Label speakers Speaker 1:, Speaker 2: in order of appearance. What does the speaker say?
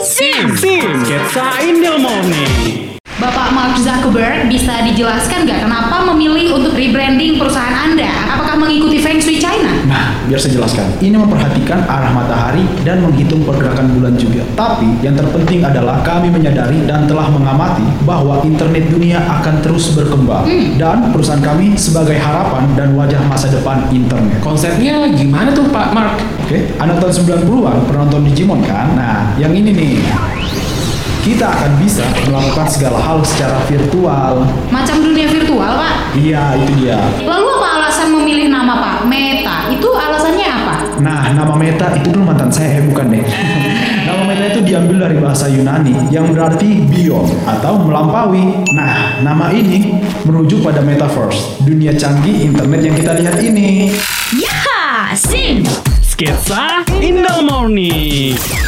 Speaker 1: Sim, sim, sketsa Indomie.
Speaker 2: Bapak Mark Zuckerberg bisa dijelaskan nggak kenapa memilih untuk rebranding perusahaan Anda? Apakah mengikuti Feng Shui China?
Speaker 3: Nah, biar saya jelaskan. Ini memperhatikan arah matahari dan menghitung pergerakan bulan juga. Tapi yang terpenting adalah kami menyadari dan telah mengamati bahwa internet dunia akan terus berkembang
Speaker 1: Hmm.
Speaker 3: dan perusahaan kami sebagai harapan dan wajah masa depan internet.
Speaker 1: Konsepnya gimana tuh Pak Mark?
Speaker 3: Oke, anak tahun 90-an pernah nonton Digimon kan? Nah, yang ini nih. Kita akan bisa melakukan segala hal secara virtual.
Speaker 2: Macam dunia virtual, Pak.
Speaker 3: Iya, itu dia.
Speaker 2: Lalu apa alasan memilih nama Pak Meta? Itu alasannya apa?
Speaker 3: Nah, nama Meta itu dulu mantan saya, eh, bukan deh. nama Meta itu diambil dari bahasa Yunani yang berarti beyond atau melampaui. Nah, nama ini merujuk pada metaverse, dunia canggih internet yang kita lihat ini.
Speaker 4: Ya, sim.
Speaker 1: Sketsa Indomie.